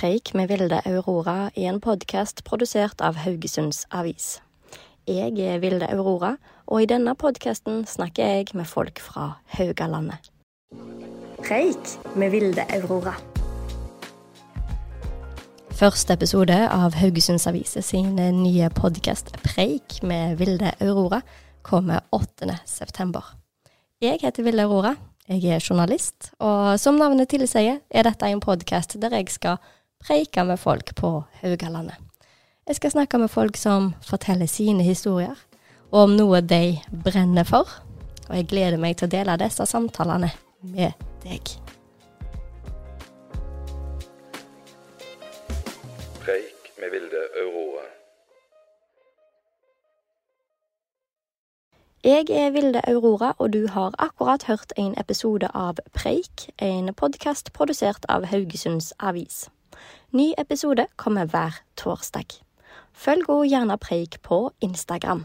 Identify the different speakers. Speaker 1: Preik med Vilde Aurora er en podkast produsert av Haugesunds Avis. Jeg er Vilde Aurora, og i denne podkasten snakker jeg med folk fra Haugalandet. Preik med Vilde Aurora. Første episode av Haugesunds Avis sin nye podkast Preik med Vilde Aurora kommer 8. september. Jeg heter Vilde Aurora. Jeg er journalist, og som navnet tilsier, er dette en podkast der jeg skal preike med folk på Haugalandet. Jeg skal snakke med folk som forteller sine historier, og om noe de brenner for. Og jeg gleder meg til å dele disse samtalene med deg.
Speaker 2: Preik med Vilde Aurora.
Speaker 1: Jeg er Vilde Aurora, og du har akkurat hørt en episode av Preik, en podkast produsert av Haugesunds Avis. Ny episode kommer hver torsdag. Følg også gjerne Preik på Instagram.